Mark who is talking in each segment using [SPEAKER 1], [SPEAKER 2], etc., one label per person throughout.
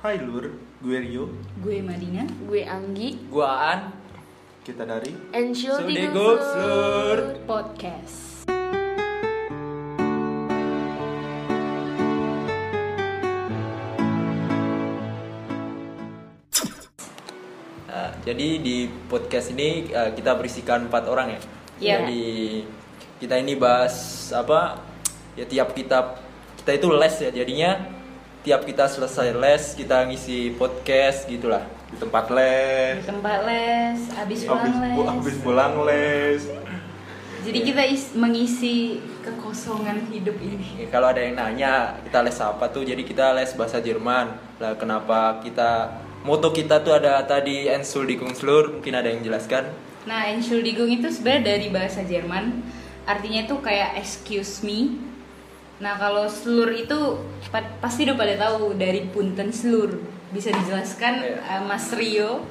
[SPEAKER 1] Hai Lur, gue Rio.
[SPEAKER 2] Gue Madina.
[SPEAKER 3] Gue Anggi
[SPEAKER 4] Guaan
[SPEAKER 1] Kita dari
[SPEAKER 3] and Show
[SPEAKER 4] Sude
[SPEAKER 3] Tigo
[SPEAKER 4] Goks,
[SPEAKER 3] Sur.
[SPEAKER 4] Lur.
[SPEAKER 2] Podcast.
[SPEAKER 4] Nah, jadi di podcast ini eh, kita berisikan empat orang ya.
[SPEAKER 2] Iya.
[SPEAKER 4] Jadi kita ini bahas apa? Ya tiap kita kita itu les ya. Jadinya tiap kita selesai les kita ngisi podcast gitulah.
[SPEAKER 1] di tempat les,
[SPEAKER 2] Di tempat les,
[SPEAKER 1] Eh. habis
[SPEAKER 2] abis pulang les.
[SPEAKER 1] bu- habis Iya. pulang les.
[SPEAKER 2] Jadi kita is- mengisi kekosongan hidup ini.
[SPEAKER 4] Ya, kalau ada yang nanya kita les apa tuh? Jadi kita les bahasa Jerman. Lah kenapa kita moto kita tuh ada tadi Ensul di Kungslur mungkin ada yang jelaskan.
[SPEAKER 2] Nah, Entschuldigung itu sebenarnya dari bahasa Jerman. Artinya itu kayak excuse me. Nah, kalau slur itu pa- pasti udah pada tahu dari punten slur. Bisa dijelaskan
[SPEAKER 4] Iya.
[SPEAKER 2] eh, Mas Rio?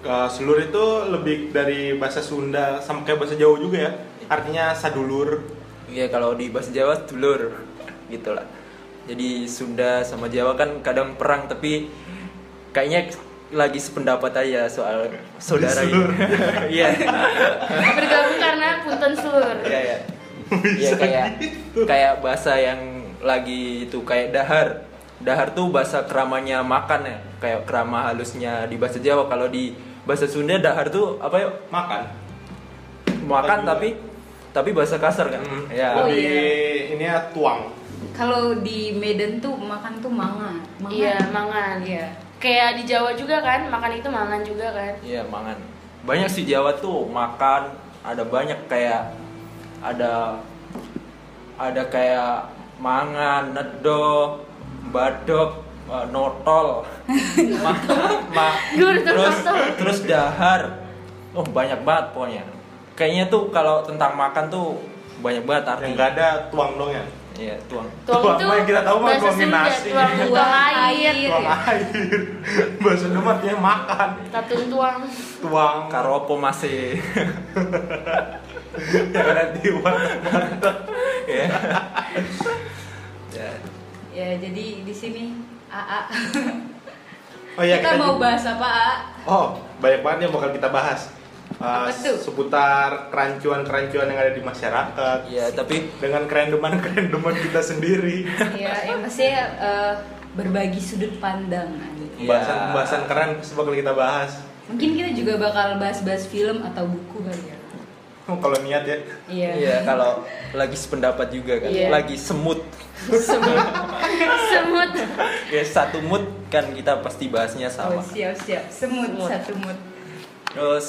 [SPEAKER 1] Eh, selur itu lebih dari bahasa Sunda sama kayak bahasa Jawa juga ya. Artinya sadulur.
[SPEAKER 4] Iya kalau di bahasa Jawa dulur gitu lah. Jadi Sunda sama Jawa kan kadang perang tapi kayaknya lagi sependapat aja soal saudara ini.
[SPEAKER 1] Dulur.
[SPEAKER 4] Iya.
[SPEAKER 3] Bergabung karena punten sur.
[SPEAKER 4] Iya iya. Iya kayak kayak bahasa yang lagi itu kayak dahar. Dahar tuh bahasa keramanya makan ya. Kayak kerama halusnya di bahasa Jawa kalau di bahasa Sunda dahar tuh apa yuk?
[SPEAKER 1] Makan.
[SPEAKER 4] Makan
[SPEAKER 1] Makan
[SPEAKER 4] tapi tapi bahasa kasar kan.
[SPEAKER 1] Mm,
[SPEAKER 4] Iya.
[SPEAKER 2] Oh,
[SPEAKER 1] Lebih
[SPEAKER 2] iya.
[SPEAKER 1] ini ya tuang.
[SPEAKER 2] Kalau di Medan tuh makan tuh manga. Manga.
[SPEAKER 3] Iya, mangan.
[SPEAKER 2] Iya.
[SPEAKER 3] Kayak di Jawa juga kan, makan itu mangan juga kan.
[SPEAKER 4] Iya mangan. Banyak sih Jawa tuh makan ada banyak kayak ada ada kayak mangan, nedo, badok, eh, notol, ma, ma-
[SPEAKER 3] Gue udah
[SPEAKER 4] terus
[SPEAKER 3] notol.
[SPEAKER 4] terus dahar. Oh banyak banget pokoknya. Kayaknya tuh kalau tentang makan tuh banyak banget
[SPEAKER 1] Yang kan?
[SPEAKER 4] artinya.
[SPEAKER 1] nggak ada tuang dong ya.
[SPEAKER 4] Iya tuang.
[SPEAKER 3] Tuang
[SPEAKER 1] Tuang
[SPEAKER 3] itu
[SPEAKER 1] mah yang kita tahu mah
[SPEAKER 3] bahasa
[SPEAKER 1] tuangin
[SPEAKER 3] Sunda,
[SPEAKER 1] nasi.
[SPEAKER 3] Tuang, tuang air.
[SPEAKER 2] Iya,
[SPEAKER 1] Tuang
[SPEAKER 2] iya.
[SPEAKER 1] air. bahasa Sunda mah artinya makan.
[SPEAKER 3] Tatun tuang.
[SPEAKER 1] Tuang.
[SPEAKER 4] Karopo masih.
[SPEAKER 1] yang ada tiwan.
[SPEAKER 4] ya. Ya.
[SPEAKER 2] Ya, jadi di sini AA.
[SPEAKER 1] Oh iya,
[SPEAKER 2] kita, mau
[SPEAKER 1] juga-
[SPEAKER 2] bahas apa, AA?
[SPEAKER 1] Oh, banyak banget yang bakal kita bahas. Uh,
[SPEAKER 2] Apa tuh?
[SPEAKER 1] seputar kerancuan-kerancuan yang ada di masyarakat
[SPEAKER 4] Iya, tapi
[SPEAKER 1] dengan kerendeman-kerendeman kita sendiri.
[SPEAKER 2] ya, yang pasti eh, berbagi sudut pandang.
[SPEAKER 4] Iya.
[SPEAKER 1] Pembahasan-pembahasan keren pasti bakal kita bahas.
[SPEAKER 2] Mungkin kita juga bakal bahas-bahas film atau buku kali ya.
[SPEAKER 1] Kalau niat ya.
[SPEAKER 2] Iya.
[SPEAKER 4] Iya, kalau lagi sependapat juga kan,
[SPEAKER 3] Iya.
[SPEAKER 4] lagi semut.
[SPEAKER 3] Semut. Semut.
[SPEAKER 4] Ya satu mood kan kita pasti bahasnya
[SPEAKER 2] Oh,
[SPEAKER 4] sama.
[SPEAKER 2] siap siap. Semut,
[SPEAKER 3] Semut.
[SPEAKER 2] satu mood.
[SPEAKER 4] Terus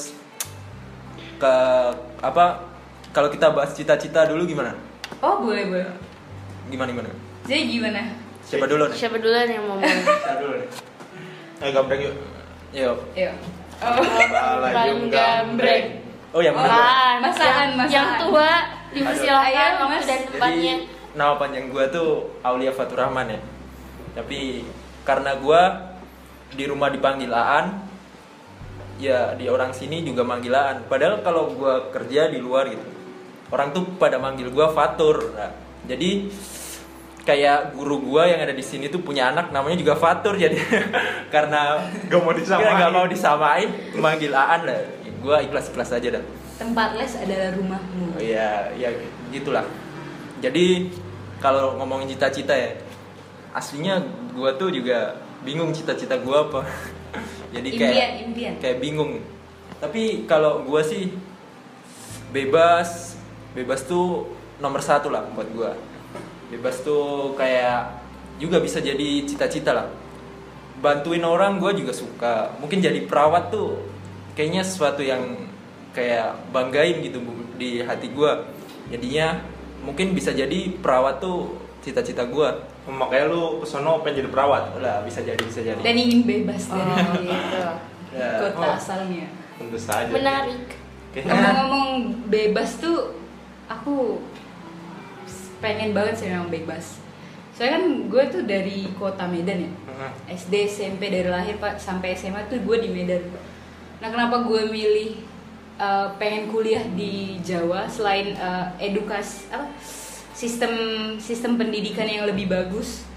[SPEAKER 4] ke apa? Kalau kita bahas cita-cita dulu gimana?
[SPEAKER 2] Oh, boleh boleh.
[SPEAKER 4] Gimana gimana?
[SPEAKER 2] Jadi gimana?
[SPEAKER 4] Siapa dulu nih?
[SPEAKER 3] Siapa duluan yang mau mulai?
[SPEAKER 1] Kita dulu nih. Eh, gambreng yuk.
[SPEAKER 4] Yuk.
[SPEAKER 2] Yuk. Oh.
[SPEAKER 3] Paling gambreng.
[SPEAKER 4] Oh yang
[SPEAKER 2] Oh, ah.
[SPEAKER 4] bener.
[SPEAKER 3] Bukan.
[SPEAKER 2] Masaan,
[SPEAKER 3] Yang- Yang
[SPEAKER 2] masaan.
[SPEAKER 3] tua
[SPEAKER 2] Ayo,
[SPEAKER 3] dipersilakan waktu
[SPEAKER 2] Mas.
[SPEAKER 3] dan
[SPEAKER 4] Jadi
[SPEAKER 3] tempatnya.
[SPEAKER 4] nama panjang gua tuh Aulia Faturrahman ya. Tapi karena gua di rumah dipanggil Aan, ya di orang sini juga manggil Aan. Padahal kalau gua kerja di luar gitu, orang tuh pada manggil gua Fatur. Nah, jadi kayak guru gua yang ada di sini tuh punya anak namanya juga Fatur jadi karena
[SPEAKER 1] Gak mau disamain.
[SPEAKER 4] karena nggak mau disamain manggil Aan lah. Gua ikhlas-ikhlas aja dah.
[SPEAKER 2] Tempat les adalah rumahmu.
[SPEAKER 4] Oh, Iya, ya gitulah. Jadi kalau ngomongin cita-cita ya, aslinya gua tuh juga bingung cita-cita gua apa. Jadi kayak
[SPEAKER 2] Impian, impian.
[SPEAKER 4] kayak bingung. Tapi kalau gua sih bebas, bebas tuh nomor satu lah buat gua. Bebas tuh kayak juga bisa jadi cita-cita lah. Bantuin orang gua juga suka. Mungkin jadi perawat tuh kayaknya sesuatu yang kayak banggain gitu bu- di hati gua. Jadinya mungkin bisa jadi perawat tuh cita-cita gua.
[SPEAKER 1] Oh, Makanya lu kesono pengen jadi perawat.
[SPEAKER 4] Lah bisa jadi bisa jadi.
[SPEAKER 2] Dan ingin bebas dari
[SPEAKER 3] Oh, gitu.
[SPEAKER 4] Ya.
[SPEAKER 2] kota
[SPEAKER 1] Oh.
[SPEAKER 2] asalnya.
[SPEAKER 1] Tentu saja.
[SPEAKER 3] Menarik.
[SPEAKER 1] Kayaknya
[SPEAKER 2] Ngomong-ngomong bebas tuh aku pengen banget sih memang bebas. Soalnya kan gue tuh dari kota Medan ya.
[SPEAKER 1] Mhm.
[SPEAKER 2] SD, SMP dari lahir Pak sampai SMA tuh gue di Medan. Nah, kenapa gue milih eh, pengen kuliah di Jawa selain eh, edukasi apa sistem sistem pendidikan yang lebih bagus?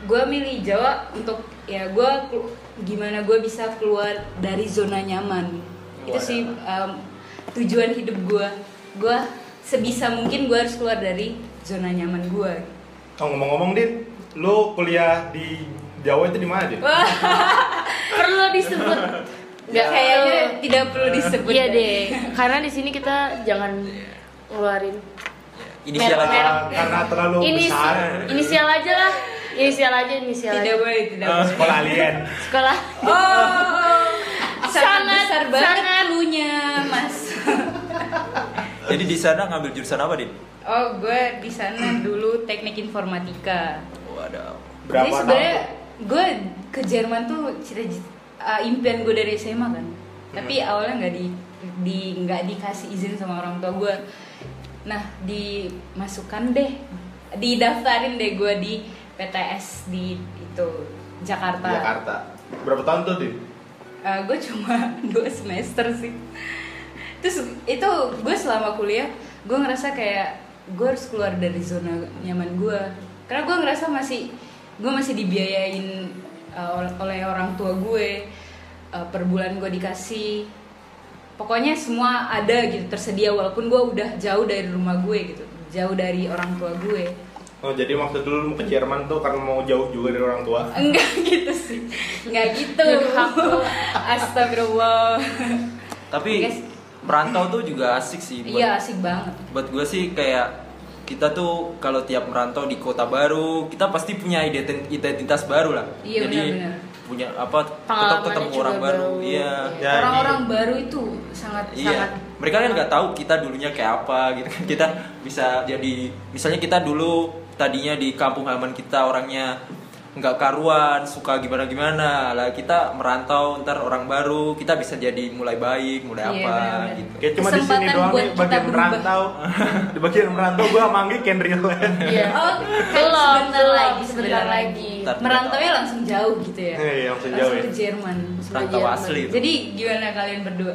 [SPEAKER 2] gue milih Jawa untuk ya gue gimana gue bisa keluar dari zona nyaman itu
[SPEAKER 4] Wadah.
[SPEAKER 2] sih um, tujuan hidup gue gue sebisa mungkin gue harus keluar dari zona nyaman gue
[SPEAKER 1] Oh, ngomong-ngomong, Din, lu kuliah di Jawa itu di mana, Din?
[SPEAKER 3] Perlu disebut. Nggak
[SPEAKER 2] kayaknya
[SPEAKER 3] kayaknya.
[SPEAKER 2] tidak perlu disebut
[SPEAKER 3] Iya
[SPEAKER 2] kan?
[SPEAKER 3] deh. Karena di sini kita jangan ngeluarin.
[SPEAKER 4] Inisial
[SPEAKER 3] Merah,
[SPEAKER 4] aja.
[SPEAKER 3] merah.
[SPEAKER 1] Ah, karena terlalu
[SPEAKER 3] Ini
[SPEAKER 1] besar.
[SPEAKER 3] inisial aja lah. Inisial aja, inisial
[SPEAKER 2] tidak
[SPEAKER 3] aja.
[SPEAKER 2] boleh tidak
[SPEAKER 1] Eh,
[SPEAKER 2] boleh
[SPEAKER 1] sekolah alien.
[SPEAKER 3] Sekolah.
[SPEAKER 2] oh sangat
[SPEAKER 3] Sangat,
[SPEAKER 2] besar banget
[SPEAKER 3] sangat.
[SPEAKER 2] lunya mas
[SPEAKER 4] Jadi di sana ngambil jurusan apa, Din?
[SPEAKER 2] oh gue di sana dulu teknik informatika
[SPEAKER 4] Waduh.
[SPEAKER 1] Berapa
[SPEAKER 2] Jadi
[SPEAKER 1] tahun?
[SPEAKER 2] sebenarnya gue ke Jerman tuh cita uh, impian gue dari SMA kan.
[SPEAKER 1] Hmm.
[SPEAKER 2] Tapi awalnya nggak di di nggak dikasih izin sama orang tua gue. Nah dimasukkan deh, didaftarin deh gue di PTS di itu Jakarta.
[SPEAKER 1] Jakarta. Berapa tahun tuh, Din?
[SPEAKER 2] gue Eh, cuma dua semester sih. Terus itu gue selama kuliah gue ngerasa kayak gue harus keluar dari zona nyaman gue. Karena gue ngerasa masih gue masih dibiayain uh, ol- oleh orang tua gue Uh, per bulan gue dikasih pokoknya semua ada gitu tersedia walaupun gue udah jauh dari rumah gue gitu jauh dari orang tua gue
[SPEAKER 1] Oh, jadi maksud dulu mau ke Jerman tuh karena mau jauh juga dari orang tua.
[SPEAKER 2] enggak gitu sih enggak gitu
[SPEAKER 3] Durhaka.
[SPEAKER 2] astagfirullah
[SPEAKER 4] Tapi
[SPEAKER 2] Guys.
[SPEAKER 4] merantau tuh juga asik sih buat
[SPEAKER 2] iya asik banget
[SPEAKER 4] buat gue sih kayak kita tuh kalau tiap merantau di kota baru kita pasti punya identi- identitas baru lah
[SPEAKER 2] Iya,
[SPEAKER 4] jadi
[SPEAKER 2] benar-benar.
[SPEAKER 4] punya apa tetap
[SPEAKER 3] Pengalamannya
[SPEAKER 4] ketemu
[SPEAKER 3] juga
[SPEAKER 4] orang baru,
[SPEAKER 3] baru.
[SPEAKER 4] iya
[SPEAKER 1] Iya. Jadi-
[SPEAKER 2] orang-orang baru itu sangat
[SPEAKER 4] iya
[SPEAKER 2] sangat
[SPEAKER 4] mereka kan nggak tahu kita dulunya kayak apa gitu kan kita bisa jadi misalnya kita dulu tadinya di kampung halaman kita orangnya nggak karuan suka gimana gimana lah kita merantau ntar orang baru kita bisa jadi mulai baik mulai
[SPEAKER 2] Iya,
[SPEAKER 4] apa
[SPEAKER 2] benar-benar.
[SPEAKER 4] gitu
[SPEAKER 1] Kayak cuma di sini
[SPEAKER 2] Kesempatan
[SPEAKER 1] doang
[SPEAKER 2] buat
[SPEAKER 1] nih
[SPEAKER 2] kita
[SPEAKER 1] bagian
[SPEAKER 2] berubah.
[SPEAKER 1] merantau. di bagian merantau gua sama Anggi can relate.
[SPEAKER 3] Iya.
[SPEAKER 2] Oh,
[SPEAKER 3] Belum,
[SPEAKER 2] sebentar lagi,
[SPEAKER 3] belum, sebentar
[SPEAKER 2] sebentar
[SPEAKER 3] lagi.
[SPEAKER 2] lagi.
[SPEAKER 4] Iya. Ntar dulu.
[SPEAKER 2] Merantaunya langsung jauh gitu ya.
[SPEAKER 1] Iya, langsung jauh ya.
[SPEAKER 2] ke Jerman.
[SPEAKER 4] merantau
[SPEAKER 3] Jerman.
[SPEAKER 4] asli itu.
[SPEAKER 2] Jadi gimana kalian berdua?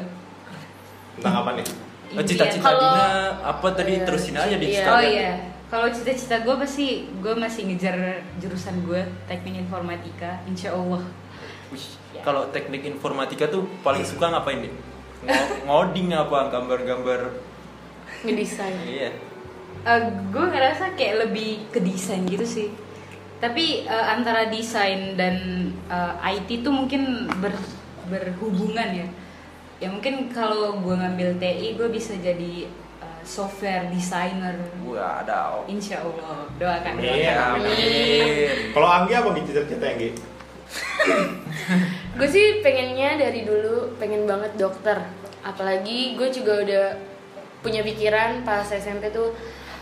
[SPEAKER 1] Tentang apa nih?
[SPEAKER 4] Oh,
[SPEAKER 2] Impian.
[SPEAKER 4] cita-cita
[SPEAKER 3] Kalau-
[SPEAKER 4] Dina apa tadi
[SPEAKER 3] Iya,
[SPEAKER 4] terusin aja di
[SPEAKER 3] iya.
[SPEAKER 4] Instagram.
[SPEAKER 2] Oh iya. Kalau cita-cita gue pasti gue masih ngejar jurusan gue teknik informatika, insya Allah.
[SPEAKER 4] Wih, Kalau teknik informatika tuh paling suka ngapain nih? Ngoding apa gambar-gambar?
[SPEAKER 3] Ngedesain.
[SPEAKER 4] Iya.
[SPEAKER 2] gue Eh, ngerasa kayak lebih ke desain gitu sih. Tapi eh, antara desain dan eh, IT tuh mungkin ber- berhubungan ya. Ya mungkin kalau gue ngambil TI gue bisa jadi eh, software designer.
[SPEAKER 4] Wah, ada.
[SPEAKER 2] Insya Allah doakan.
[SPEAKER 1] Iya, Kalau Anggi apa nih cita-cita Anggi?
[SPEAKER 3] Gue sih pengennya dari dulu pengen banget dokter. Apalagi gue juga udah punya pikiran pas SMP tuh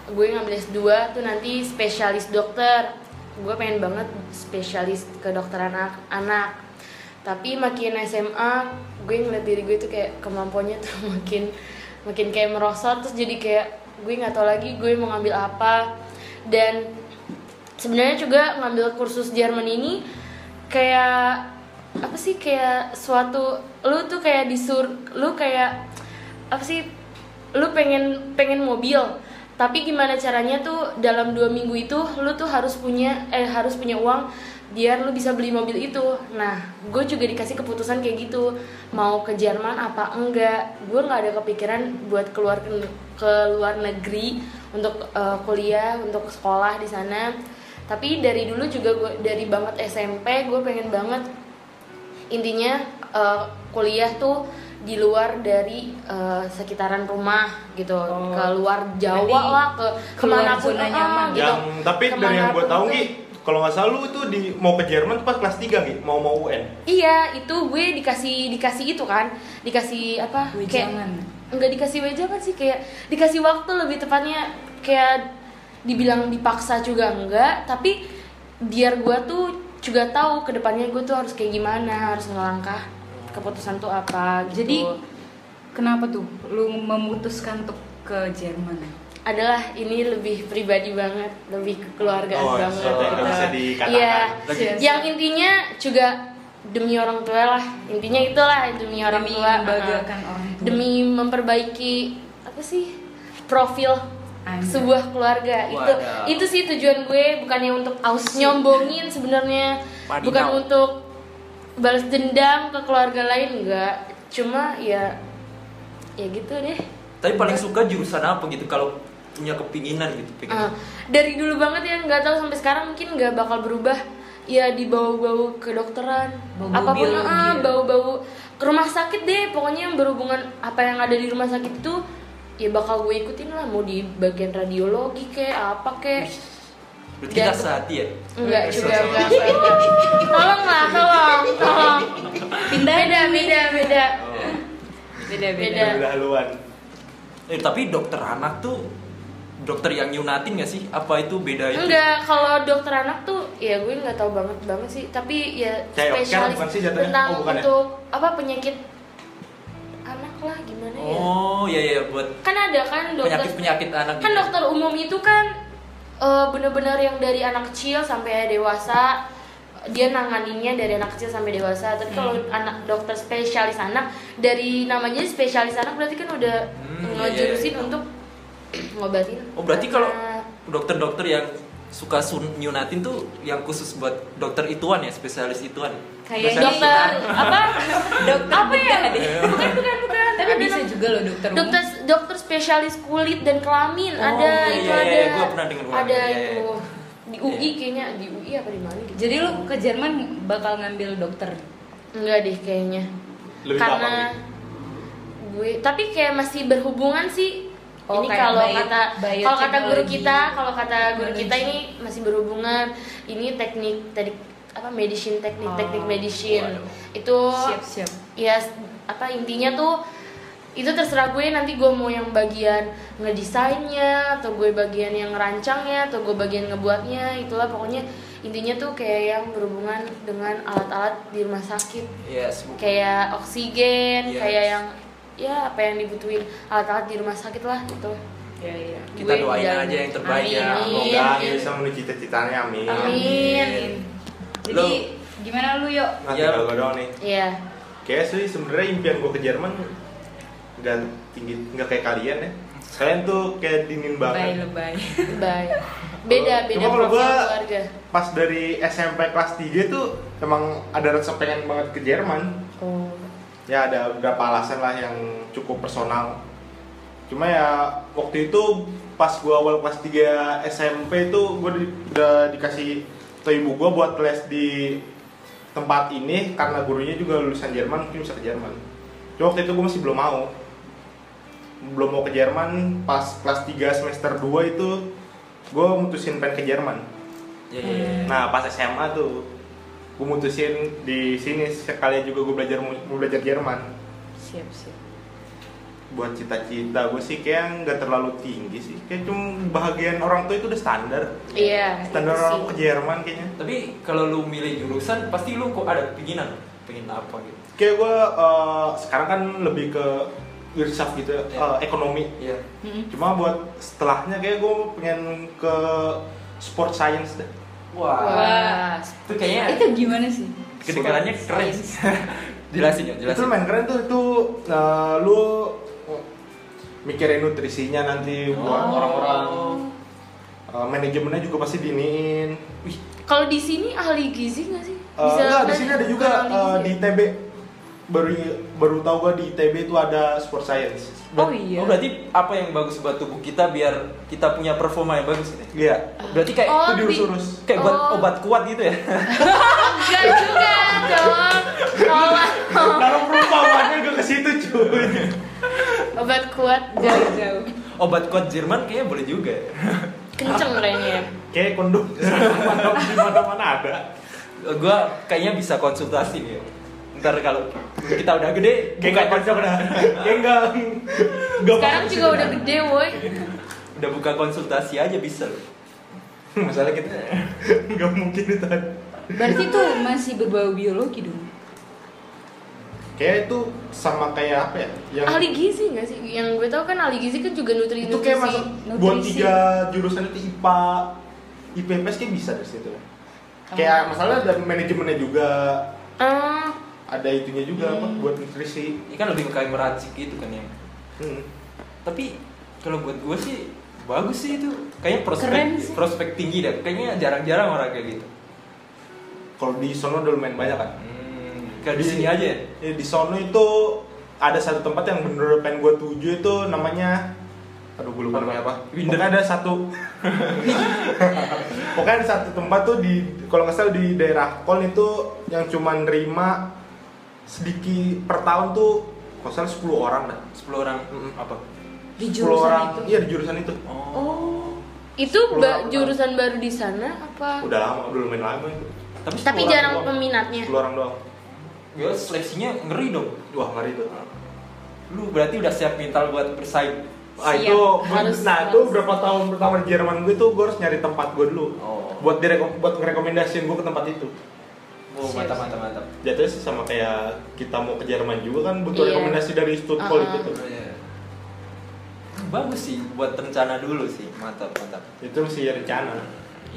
[SPEAKER 3] gue ngambil S2 tuh nanti spesialis dokter. Gue pengen banget spesialis kedokteran anak. anak. Tapi makin SMA gue ngeliat diri gue tuh kayak kemampuannya tuh makin makin kayak merosot terus jadi kayak gue nggak tahu lagi gue mau ngambil apa dan sebenarnya juga ngambil kursus Jerman ini kayak apa sih kayak suatu lu tuh kayak disur lu kayak apa sih lu pengen pengen mobil tapi gimana caranya tuh dalam dua minggu itu lu tuh harus punya eh harus punya uang biar lu bisa beli mobil itu nah gue juga dikasih keputusan kayak gitu mau ke Jerman apa enggak gue nggak ada kepikiran buat keluar ke, ke luar negeri untuk eh, kuliah untuk sekolah di sana tapi dari dulu juga gue dari banget SMP gue pengen banget intinya eh, kuliah tuh di luar dari eh, sekitaran rumah gitu
[SPEAKER 2] Oh.
[SPEAKER 3] ke luar Jawa
[SPEAKER 2] Berarti
[SPEAKER 3] lah ke
[SPEAKER 2] keluar
[SPEAKER 3] kemana pun
[SPEAKER 2] zona nyaman.
[SPEAKER 3] gitu
[SPEAKER 1] Yang tapi dari yang gue
[SPEAKER 3] Kemanapun
[SPEAKER 1] tahu
[SPEAKER 3] tuh.
[SPEAKER 1] Gi, kalau nggak salah lu itu di mau ke Jerman tuh pas kelas 3 Gi, mau mau UN.
[SPEAKER 3] iya itu gue dikasih dikasih itu kan dikasih apa kayak
[SPEAKER 2] Wejangan.
[SPEAKER 3] nggak dikasih wejangan sih kayak dikasih waktu lebih tepatnya kayak dibilang dipaksa juga enggak tapi biar gue tuh juga tahu kedepannya gue tuh harus kayak gimana harus ngelangkah keputusan tuh apa gitu.
[SPEAKER 2] Jadi kenapa tuh lu memutuskan untuk ke Jerman?
[SPEAKER 3] adalah ini lebih pribadi banget, lebih kekeluargaan
[SPEAKER 1] Oh,
[SPEAKER 3] banget.
[SPEAKER 1] sesuatu yang
[SPEAKER 3] gitu.
[SPEAKER 1] nggak bisa dikatakan.
[SPEAKER 3] Iya.
[SPEAKER 4] Lagi.
[SPEAKER 3] Yang intinya juga demi orang tua lah. Intinya itulah demi orang
[SPEAKER 2] Demi
[SPEAKER 3] tua. Ah.
[SPEAKER 2] membanggakan
[SPEAKER 3] uh-uh.
[SPEAKER 2] orang tua.
[SPEAKER 3] Demi memperbaiki apa sih profil
[SPEAKER 2] Anjay.
[SPEAKER 3] sebuah keluarga itu
[SPEAKER 4] Wadah.
[SPEAKER 3] itu sih tujuan gue bukannya untuk aus nyombongin sebenarnya
[SPEAKER 4] Padinau.
[SPEAKER 3] bukan untuk balas dendam ke keluarga lain enggak cuma ya ya gitu deh
[SPEAKER 4] Tapi paling suka jurusan apa gitu kalau punya kepinginan gitu pengen.
[SPEAKER 3] Ah, dari dulu banget ya nggak tahu sampai sekarang mungkin nggak bakal berubah ya dibawa-bawa ke dokteran
[SPEAKER 2] Bau-bau
[SPEAKER 3] apapun
[SPEAKER 2] biologi
[SPEAKER 3] ah,
[SPEAKER 2] ya.
[SPEAKER 3] bau-bau ke rumah sakit deh pokoknya yang berhubungan apa yang ada di rumah sakit itu ya bakal gue ikutin lah mau di bagian radiologi kek apa kek
[SPEAKER 4] Berarti
[SPEAKER 3] dan-
[SPEAKER 4] kita sehati ya.
[SPEAKER 3] Enggak
[SPEAKER 1] Iya,
[SPEAKER 4] Kesel
[SPEAKER 3] juga,
[SPEAKER 4] sama
[SPEAKER 3] enggak.
[SPEAKER 4] sehati.
[SPEAKER 3] Tolong lah, tolong, tolong.
[SPEAKER 2] Pindah
[SPEAKER 3] Beda, beda, beda.
[SPEAKER 4] Oh.
[SPEAKER 2] beda beda
[SPEAKER 3] Beda.
[SPEAKER 1] Udah haluan.
[SPEAKER 4] Eh, tapi dokter anak tuh dokter yang nyunatin gak sih? Apa itu beda itu?
[SPEAKER 3] Enggak, kalau dokter anak tuh ya gue nggak tahu banget banget sih, tapi ya
[SPEAKER 1] Kayak oke lah,
[SPEAKER 3] spesialis
[SPEAKER 1] bukan sih jatuhnya?
[SPEAKER 3] tentang
[SPEAKER 1] Oh, bukan ya?
[SPEAKER 3] untuk apa penyakit anak lah gimana ya?
[SPEAKER 4] Oh, iya iya buat
[SPEAKER 3] Kan ada kan dokter
[SPEAKER 4] penyakit-penyakit anak
[SPEAKER 3] kan
[SPEAKER 4] gitu.
[SPEAKER 3] dokter umum itu kan eh, bener-bener yang dari anak kecil sampai dewasa dia nanganinnya dari anak kecil sampai dewasa tapi kalau
[SPEAKER 1] Hmm.
[SPEAKER 3] anak dokter spesialis anak dari namanya spesialis anak berarti kan udah
[SPEAKER 4] Hmm,
[SPEAKER 3] ngejurusin
[SPEAKER 4] iya, iya.
[SPEAKER 3] untuk ngobatin
[SPEAKER 4] Oh, berarti kalau
[SPEAKER 3] anak.
[SPEAKER 4] dokter-dokter yang suka sun- nyunatin tuh yang khusus buat dokter ituan ya, spesialis ituan.
[SPEAKER 2] Kayaknya
[SPEAKER 3] dokter apa
[SPEAKER 2] dokter apa ya
[SPEAKER 3] bukan bukan bukan
[SPEAKER 2] tapi
[SPEAKER 3] ada
[SPEAKER 2] bisa
[SPEAKER 3] nam-
[SPEAKER 2] juga loh dokter umum.
[SPEAKER 3] dokter dokter spesialis kulit dan kelamin
[SPEAKER 4] Oh,
[SPEAKER 3] ada
[SPEAKER 4] iya,
[SPEAKER 3] itu
[SPEAKER 4] iya,
[SPEAKER 3] ada
[SPEAKER 4] iya, gua pernah dengar orang,
[SPEAKER 3] ada
[SPEAKER 4] iya, iya.
[SPEAKER 3] itu di UI kayaknya di UI apa di mana gitu
[SPEAKER 2] jadi lu ke Jerman bakal ngambil dokter
[SPEAKER 3] Enggak deh kayaknya.
[SPEAKER 1] Lebih ke
[SPEAKER 3] Karena
[SPEAKER 1] apa,
[SPEAKER 3] gue tapi kayak masih berhubungan sih.
[SPEAKER 2] Oh,
[SPEAKER 3] ini
[SPEAKER 2] kayak
[SPEAKER 3] kalau
[SPEAKER 2] bio-
[SPEAKER 3] kata kalau kata guru
[SPEAKER 2] biotechnology.
[SPEAKER 3] kita, kalau kata guru kita
[SPEAKER 2] Biology.
[SPEAKER 3] ini masih berhubungan. Ini teknik tadi apa medicine teknik
[SPEAKER 2] Oh,
[SPEAKER 3] teknik medicine.
[SPEAKER 4] waduh.
[SPEAKER 3] Itu
[SPEAKER 2] siap siap
[SPEAKER 3] ya s- apa intinya tuh itu terserah gue nanti gue mau yang bagian ngedesainnya atau gue bagian yang ngerancangnya atau gue bagian ngebuatnya itulah pokoknya intinya tuh kayak yang berhubungan dengan alat-alat di rumah sakit
[SPEAKER 4] Iya, semua.
[SPEAKER 3] kayak oksigen
[SPEAKER 4] Yes.
[SPEAKER 3] kayak yang ya apa yang dibutuhin alat-alat di rumah sakit lah gitu
[SPEAKER 2] ya ya
[SPEAKER 4] Kita
[SPEAKER 3] gue
[SPEAKER 4] doain
[SPEAKER 3] dan-
[SPEAKER 4] aja yang terbaik ya.
[SPEAKER 3] Amin.
[SPEAKER 4] Semoga.
[SPEAKER 1] Semoga bisa menuju cita-citanya, amin.
[SPEAKER 3] amin
[SPEAKER 2] jadi
[SPEAKER 4] Lu-
[SPEAKER 2] gimana Iya. lu yuk
[SPEAKER 1] Nah,
[SPEAKER 4] Iya.
[SPEAKER 1] tinggal gue doang nih.
[SPEAKER 3] ya
[SPEAKER 1] Kayak sih sebenarnya impian gue ke Jerman nggak tinggi, nggak kayak kalian ya. Kalian tuh kayak dingin
[SPEAKER 2] lebay
[SPEAKER 1] banget.
[SPEAKER 2] lebay
[SPEAKER 3] bye beda beda
[SPEAKER 1] Cuma kalau
[SPEAKER 3] profil
[SPEAKER 1] gua-
[SPEAKER 3] keluarga
[SPEAKER 1] Pas dari SMP kelas 3 tuh emang ada rasa pengen banget ke Jerman.
[SPEAKER 3] oh
[SPEAKER 1] Ya ada beberapa alasan lah yang cukup personal. Cuma ya waktu itu pas gua awal kelas 3 SMP itu gua di- udah dikasih ke ibu gua buat les di tempat ini karena gurunya juga lulusan Jerman mungkin bisa ke Jerman. Cuma waktu itu gua masih belum mau. Belum mau ke Jerman pas kelas 3 semester 2 itu gua mutusin pengen ke Jerman.
[SPEAKER 4] Iya, iya, iya.
[SPEAKER 1] Nah pas SMA tuh gue mutusin di sini sekalian juga gue belajar mau belajar Jerman
[SPEAKER 2] siap siap
[SPEAKER 1] buat cita-cita gue sih kayak nggak terlalu tinggi sih kayak cuma bahagian orang tua itu udah standar
[SPEAKER 3] iya
[SPEAKER 1] standar
[SPEAKER 3] itu
[SPEAKER 1] orang
[SPEAKER 3] sih.
[SPEAKER 1] ke Jerman kayaknya
[SPEAKER 4] Tapi kalau lu milih jurusan pasti lu kok ada keinginan pengen apa gitu.
[SPEAKER 1] kayak gue sekarang kan lebih ke filsaf gitu ya,
[SPEAKER 4] Iya.
[SPEAKER 1] eh, ekonomi
[SPEAKER 4] Iya.
[SPEAKER 2] Mm-mm.
[SPEAKER 1] cuma buat setelahnya kayak gue pengen ke sport science deh
[SPEAKER 2] Wah.
[SPEAKER 4] Wah.
[SPEAKER 3] wah
[SPEAKER 4] Itu kayaknya
[SPEAKER 2] itu gimana sih
[SPEAKER 4] kedengarannya keren.
[SPEAKER 2] Sains.
[SPEAKER 4] jelasin ya,
[SPEAKER 1] itu
[SPEAKER 4] jelasin.
[SPEAKER 1] lumayan keren tuh itu eh, lu mikirin nutrisinya nanti buat
[SPEAKER 4] Oh.
[SPEAKER 1] orang-orang Eh, manajemennya juga pasti diniin
[SPEAKER 4] Wih,
[SPEAKER 3] kalau di sini ahli gizi nggak sih
[SPEAKER 1] Eh, enggak, di
[SPEAKER 3] kan?
[SPEAKER 1] sini ada juga
[SPEAKER 3] Bukan
[SPEAKER 1] eh,
[SPEAKER 3] ahli gizi
[SPEAKER 1] di
[SPEAKER 3] ya?
[SPEAKER 1] ITB baru baru tahu gua di ITB itu ada sport science.
[SPEAKER 2] Oh iya.
[SPEAKER 4] Oh berarti apa yang bagus buat tubuh kita biar kita punya performa yang bagus gitu.
[SPEAKER 1] Iya.
[SPEAKER 4] Berarti kayak
[SPEAKER 3] Oh,
[SPEAKER 1] itu diurus-urus.
[SPEAKER 4] kayak buat
[SPEAKER 3] Oh.
[SPEAKER 4] obat kuat gitu ya.
[SPEAKER 3] enggak Oh, juga dong tolong
[SPEAKER 1] Dalam perumpamannya gua ke situ cuy.
[SPEAKER 3] obat kuat
[SPEAKER 2] jauh jauh
[SPEAKER 4] obat kuat Jerman kayaknya boleh juga. ya.
[SPEAKER 3] kenceng kerennya
[SPEAKER 1] Kayak kondom di mana-mana ada.
[SPEAKER 4] Eh, Gua kayaknya bisa konsultasi nih. ya. Ntar kalau kita udah gede,
[SPEAKER 1] Kayak enggak
[SPEAKER 4] buka,
[SPEAKER 1] kocok dah. Kayak enggak enggak
[SPEAKER 3] sekarang
[SPEAKER 1] bagus
[SPEAKER 3] juga
[SPEAKER 1] itu.
[SPEAKER 3] udah gede woi
[SPEAKER 4] udah buka konsultasi aja bisa loh.
[SPEAKER 1] masalah kita enggak mungkin ditahan.
[SPEAKER 2] berarti tuh masih berbau biologi dong
[SPEAKER 1] Kayak itu sama kayak apa ya? Yang
[SPEAKER 3] ahli gizi nggak sih yang gue tau kan ahli gizi kan juga nutri
[SPEAKER 1] itu kayak
[SPEAKER 3] nutrisi
[SPEAKER 1] masuk buat
[SPEAKER 2] nutrisi.
[SPEAKER 1] tiga jurusan itu IPA, IPMS kayak bisa dari situ. Kayak masalah dari manajemennya juga
[SPEAKER 3] Ah,
[SPEAKER 1] ada itunya juga apa buat nutrisi
[SPEAKER 4] Ini kan lebih kayak meracik gitu kan ya.
[SPEAKER 1] hmm.
[SPEAKER 4] Tapi kalau buat gue sih bagus sih itu kayaknya prospek
[SPEAKER 2] Keren sih.
[SPEAKER 4] prospek tinggi deh kayaknya jarang-jarang orang kayak gitu
[SPEAKER 1] Kalau di Solo udah lumayan banyak kan.
[SPEAKER 4] hmm, kayak di sini aja ya
[SPEAKER 1] Ya, di sono itu ada satu tempat yang bener pengen gue tuju itu namanya aduh gue lupa namanya apa
[SPEAKER 4] Winder.
[SPEAKER 1] pokoknya ada satu pokoknya ada satu tempat tuh di kalau nggak salah di daerah Kol itu yang cuman nerima sedikit per tahun tuh kalau nggak salah 10 orang dah
[SPEAKER 4] 10 orang
[SPEAKER 1] Mm-mm.
[SPEAKER 4] apa
[SPEAKER 2] di
[SPEAKER 1] 10
[SPEAKER 2] jurusan
[SPEAKER 1] orang
[SPEAKER 2] itu
[SPEAKER 1] iya di jurusan itu
[SPEAKER 2] oh
[SPEAKER 3] Itu
[SPEAKER 1] Sepuluh
[SPEAKER 3] ba-
[SPEAKER 1] orang.
[SPEAKER 3] jurusan baru di sana apa?
[SPEAKER 1] udah lama udah lumayan lama itu
[SPEAKER 4] tapi,
[SPEAKER 3] Tapi
[SPEAKER 4] 10 orang
[SPEAKER 3] jarang
[SPEAKER 4] doang.
[SPEAKER 2] Iya.
[SPEAKER 3] peminatnya.
[SPEAKER 1] 10 orang doang
[SPEAKER 4] Gila, seleksinya ngeri dong
[SPEAKER 1] wah ngeri itu
[SPEAKER 4] lu berarti udah siap mental buat bersaing
[SPEAKER 1] Ah,
[SPEAKER 2] Siap.
[SPEAKER 1] itu,
[SPEAKER 3] Harus-
[SPEAKER 1] nah itu
[SPEAKER 3] harus.
[SPEAKER 1] berapa tahun pertama di Jerman gue tuh gue harus nyari tempat gue dulu
[SPEAKER 4] Oh.
[SPEAKER 1] buat direkom buat ngerekomendasiin gue ke tempat itu
[SPEAKER 4] oh mantap mantap mantap
[SPEAKER 1] jatuhnya sih sama kayak kita mau ke Jerman juga kan butuh
[SPEAKER 3] Iya.
[SPEAKER 1] rekomendasi dari
[SPEAKER 2] Ah,
[SPEAKER 1] Stuttgart gitu.
[SPEAKER 3] Uh-uh.
[SPEAKER 1] itu tuh
[SPEAKER 4] bagus sih buat rencana dulu sih mantap mantap
[SPEAKER 1] itu sih rencana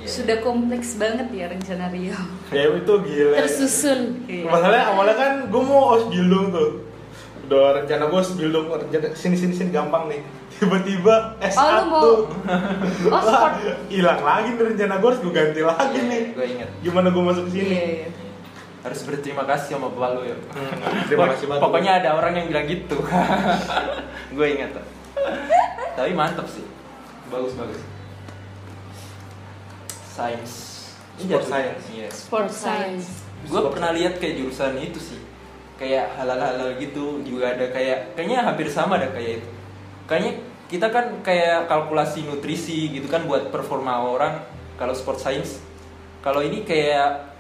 [SPEAKER 4] Iya.
[SPEAKER 2] sudah kompleks banget ya rencana Rio Iya.
[SPEAKER 1] ya itu gila
[SPEAKER 3] Tersusun.
[SPEAKER 1] masalahnya awalnya kan gue mau Osbildung tuh udah rencana gue Osbildung rencana sini sini sini gampang nih tiba-tiba S1
[SPEAKER 2] Oh, lu mau oh
[SPEAKER 1] Wah,
[SPEAKER 2] sport
[SPEAKER 1] hilang lagi nih rencana gue harus gue ganti lagi nih
[SPEAKER 4] gue inget
[SPEAKER 1] gimana gue masuk sini
[SPEAKER 2] Iya, iya.
[SPEAKER 4] harus berterima kasih sama bapak lu ya
[SPEAKER 1] Hmm, terima kasih banget
[SPEAKER 4] pokoknya ada orang yang bilang gitu gue inget tuh. tapi mantap sih bagus bagus sains
[SPEAKER 1] Sport science.
[SPEAKER 4] iya
[SPEAKER 2] sport science
[SPEAKER 4] gue pernah lihat kayak jurusan itu sih kayak halal halal gitu juga ada kayak kayaknya hampir sama ada kayak itu kayaknya kita kan kayak kalkulasi nutrisi gitu kan buat performa orang kalau sport science kalau ini kayak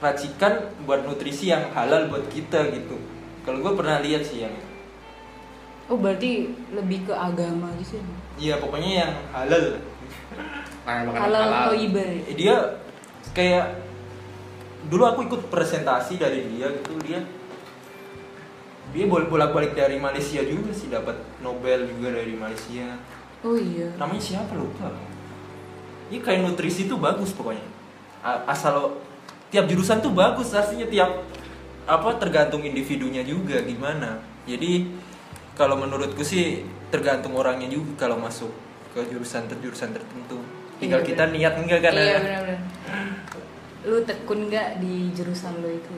[SPEAKER 4] racikan buat nutrisi yang halal buat kita gitu kalau gue pernah lihat sih yang itu.
[SPEAKER 2] oh berarti lebih ke agama gitu ya
[SPEAKER 4] iya pokoknya yang halal
[SPEAKER 1] Nah, makanan
[SPEAKER 2] halal toiba
[SPEAKER 4] Eh, dia kayak dulu aku ikut presentasi dari dia gitu dia dia bol- bolak-balik dari Malaysia juga sih dapat Nobel juga dari Malaysia
[SPEAKER 2] oh iya
[SPEAKER 4] namanya siapa lupa ini kayak nutrisi tuh bagus pokoknya A- asal lo tiap jurusan tuh bagus artinya tiap apa tergantung individunya juga gimana jadi kalau menurutku sih tergantung orangnya juga kalau masuk ke jurusan ter jurusan tertentu tinggal
[SPEAKER 2] Iya,
[SPEAKER 4] kita niat enggak kan
[SPEAKER 2] iya
[SPEAKER 4] Nana?
[SPEAKER 2] benar-benar lu tekun nggak di jurusan lu itu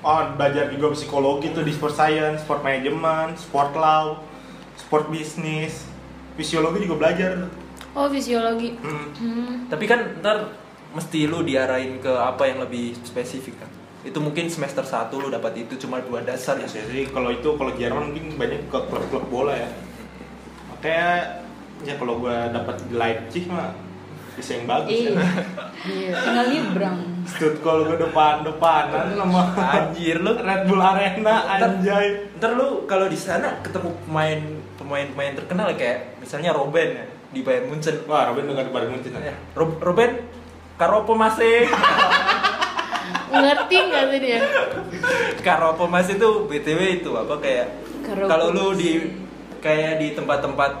[SPEAKER 1] Oh, belajar juga psikologi tuh di sport science, sport management, sport law, sport bisnis, fisiologi juga belajar.
[SPEAKER 3] Oh, fisiologi.
[SPEAKER 1] Hmm.
[SPEAKER 3] Hmm.
[SPEAKER 4] Tapi kan ntar mesti lu diarahin ke apa yang lebih spesifik kan. Itu mungkin semester 1 lu dapat itu cuma dua dasar ya.
[SPEAKER 1] Jadi kalau itu kalau Jerman mungkin banyak ke klub-klub bola ya. Makanya ya kalau gua dapat di Leipzig mah bisa yang bagus.
[SPEAKER 2] iya
[SPEAKER 1] Ya.
[SPEAKER 3] Iya.
[SPEAKER 2] tinggal nyebrang
[SPEAKER 1] Stuttgart gua depan-depanan sama
[SPEAKER 4] Anjir lu.
[SPEAKER 1] Red Bull Arena anjay.
[SPEAKER 4] Ntar lu kalau di sana ketemu pemain pemain pemain terkenal kayak misalnya Robben ya di Bayern Munchen.
[SPEAKER 1] Wah, Robin dengar bareng Munchen.
[SPEAKER 4] Ya, Rob- Robben Karopo masih
[SPEAKER 3] Ngerti nggak sih dia?
[SPEAKER 4] Karopo masih itu BTW itu apa kayak
[SPEAKER 2] Karopo
[SPEAKER 4] kalau lu
[SPEAKER 2] Mas.
[SPEAKER 4] di kayak di tempat-tempat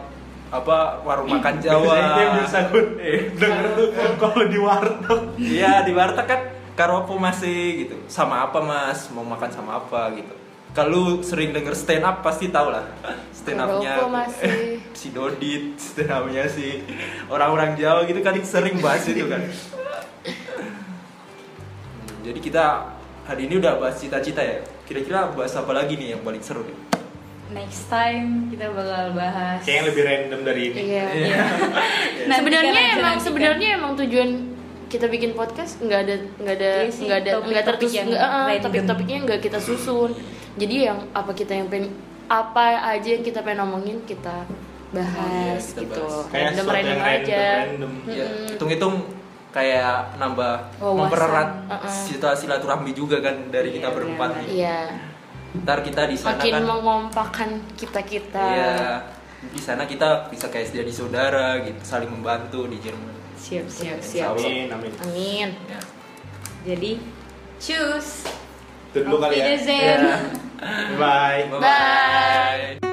[SPEAKER 4] apa warung makan Jawa.
[SPEAKER 1] Jawa. Ini biasa gue denger tuh kalau di warteg.
[SPEAKER 4] Iya di warteg kan karopo masih gitu sama apa mas mau makan sama apa gitu kalau lu sering denger stand up pasti tau lah stand upnya
[SPEAKER 3] Karopo masih.
[SPEAKER 4] si Dodit stand upnya si orang-orang Jawa gitu kan sering bahas itu kan Hmm, jadi kita hari ini udah bahas cita-cita ya kira-kira bahas apa lagi nih yang paling seru nih?
[SPEAKER 2] next time kita bakal bahas kan
[SPEAKER 1] Kayaknya lebih random dari ini.
[SPEAKER 3] Iya.
[SPEAKER 2] Nantikan
[SPEAKER 3] sebenarnya
[SPEAKER 2] aja,
[SPEAKER 3] emang
[SPEAKER 2] nantikan.
[SPEAKER 3] sebenarnya emang tujuan kita bikin podcast nggak ada nggak ada
[SPEAKER 2] Iya sih,
[SPEAKER 3] nggak ada nggak
[SPEAKER 2] topik-topik
[SPEAKER 3] tertus
[SPEAKER 2] yang
[SPEAKER 3] nggak eh,
[SPEAKER 2] random.
[SPEAKER 3] topik-topiknya nggak kita susun jadi yang apa kita yang pengen apa aja yang kita pengen omongin kita bahas
[SPEAKER 4] Iya, kita
[SPEAKER 3] gitu
[SPEAKER 4] bahas.
[SPEAKER 1] Kayak
[SPEAKER 3] random
[SPEAKER 1] sesuatu
[SPEAKER 3] random
[SPEAKER 1] yang
[SPEAKER 3] aja Hmm.
[SPEAKER 1] random.
[SPEAKER 2] Iya.
[SPEAKER 4] Ya,
[SPEAKER 3] Mm-mm.
[SPEAKER 4] hitung-hitung kayak nambah
[SPEAKER 2] Wawasan.
[SPEAKER 4] mempererat
[SPEAKER 3] Uh-uh.
[SPEAKER 4] situasi silaturahmi juga kan dari kita
[SPEAKER 2] Iya,
[SPEAKER 4] berempat
[SPEAKER 2] benar.
[SPEAKER 4] nih.
[SPEAKER 3] iya
[SPEAKER 4] Ntar kita di sana
[SPEAKER 3] makin
[SPEAKER 4] kan.
[SPEAKER 3] mengompakkan kita kita
[SPEAKER 4] Iya. Di sana kita bisa kayak jadi saudara gitu, saling membantu di Jerman.
[SPEAKER 2] siap siap siap
[SPEAKER 4] Insya Allah.
[SPEAKER 1] Amin, amin.
[SPEAKER 3] Ya. amin
[SPEAKER 4] Ya.
[SPEAKER 2] jadi choose
[SPEAKER 1] Itu dulu kali ya.
[SPEAKER 2] Auf Wiedersehen.
[SPEAKER 4] Ya.
[SPEAKER 1] Bye.
[SPEAKER 4] Bye-bye.